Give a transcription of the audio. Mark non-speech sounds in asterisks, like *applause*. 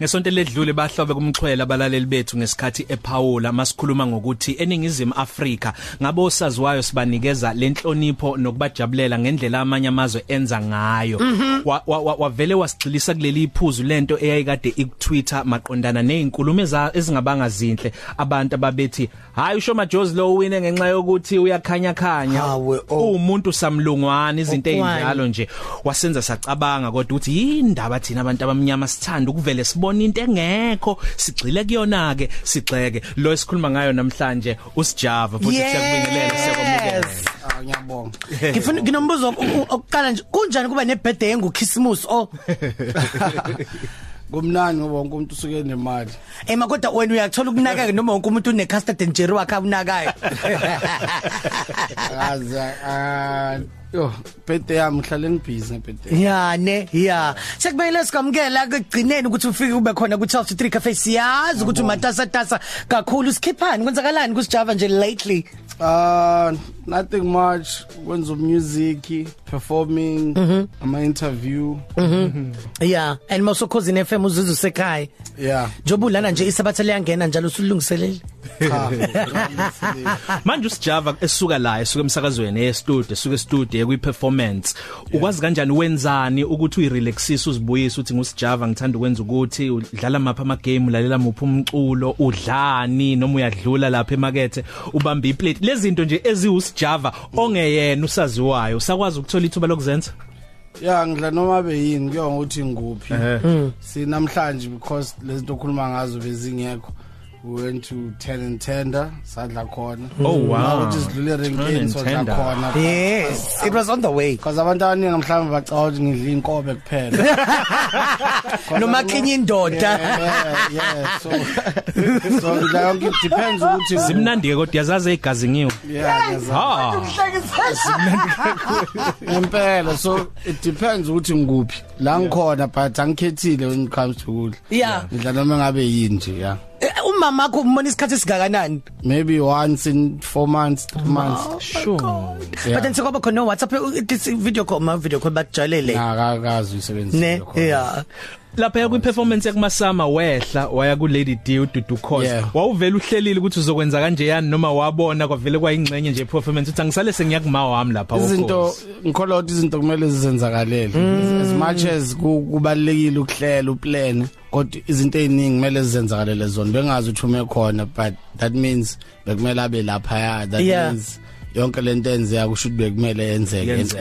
Ngesonto ledlule bahlobe kumxhwele abalaleli bethu ngesikhathi ePaula masikhuluma ngokuthi eningizimu Afrika ngabo saziwayo sibanikeza lenhlonipho nokubajabulela ngendlela amanye amazwe enza ngayo Mhm. Wa- wa- wa- wavele wasigxilisa kuleli iphuzu lento eyayikade ikutwitter maqondana nezinkulumo eza- ezingabanga zinhle abantu ababethi hayi usho majozi lo uwine ngenxa yokuthi uyakhanya khanya Hawe, oh. umuntu samlungwana izinto Okwani. ezinjalo njalo nje wasenza sacabanga kodwa ukuthi yindaba thina abantu abamnyama sithanda ukuvele sibone into engekho sigxile kuyona ke sigxeke lo esikhuluma ngayo namhlanje usijava futhi siyakubingelela siyakwamukela Ah, ngiyabonga ngifuna nginombuzo oku- oku- okuqala nje kunjani kuba nebirthday engu Christmas *laughs* oh kumnani ngoba wonke umuntu usuke nemali ema kodwa wena uyathola ukunaka ke noma wonke umuntu une custard and jerry wakhe *laughs* unakayo akaze ah, yo birthday yami ngihlale ngibhizi ngebirthday yane ya sekubekele sikamkela kugcineni ukuthi ufike ube khona ku 12 to 3 cafe siyazi ukuthi umatasa tasa kakhulu sikhiphani kwenzakalani kusijava nje lately ah nothing much kwenza music performing ama interview yeah and moso cousin FM uzuzu sekhaya yeah njobe ulana nje isabatha liyangena njalo usulungiselele cha ngiyabonga. manje usijava esuka la esuka emsakazweni e-studio esuka e-studio ekwi performance ukwazi kanjani wenzani ukuthi uyirelaxise uzibuyise uthi ngusijava ngithanda ukwenza ukuthi udlala mapha ama game ulalela muphi umculo udlani noma uyadlula lapha emakethe ubamba iplate lezi zinto nje eziwusijava ongeyena usaziwayo usakwazi ukuthola ithuba lokuzenza ya ngidla noma beyini kuya ngokuthi nguphi sinamhlanje because lezinto okhuluma ngazo bezingekho we went to 10 and tender sadla khona Oh, wow. ukuthi sidlule Ten ranking and sodla Tender. khona yes it was on the way Cause abantu abaningi mhlawumbe bacawa ukuthi ngidla *laughs* inkobe kuphela. noma klinye indoda Yeah, yeah, so so ngidla yonke it depends ukuthi zimnandi ke kodwa yazazi igazi ngiwe Yeah, ngiyazama. ha Impela so it depends ukuthi ngikuphi. La ngikhona but angikhethile when it comes to kudla. Yeah. Ngidla noma ngabe yini nje yeah. Eh, umama wakho umbona isikhathi singakanani Maybe once in 4 months, 3 months. sure Yeah. but then sekuba khona no WhatsApp eh, this video call ma video call bakujalele Ngakazi umsebenzi. ne yeah Oh, lapha kwi performance yakumasama wehla waya ku Lady D uDudu Khosi Yeah. wawuvela uhlelile ukuthi uzokwenza kanje yani noma wabona kwavele kwayingcenye nje performance uthi angisale sengiyakuma wami lapha izinto wokhozi." ngikholwa ukuthi izinto kumele zizenzakalele Mm. as much as ku- kubalekile ukuhlela uplan kodwa izinto eziningi kumele zizenzakalele zona bengazi uthume khona but that means bekumele abe lapha that Yeah. means yonke lento enze yakusho ukuthi bekumele yenzeke Yenzeke.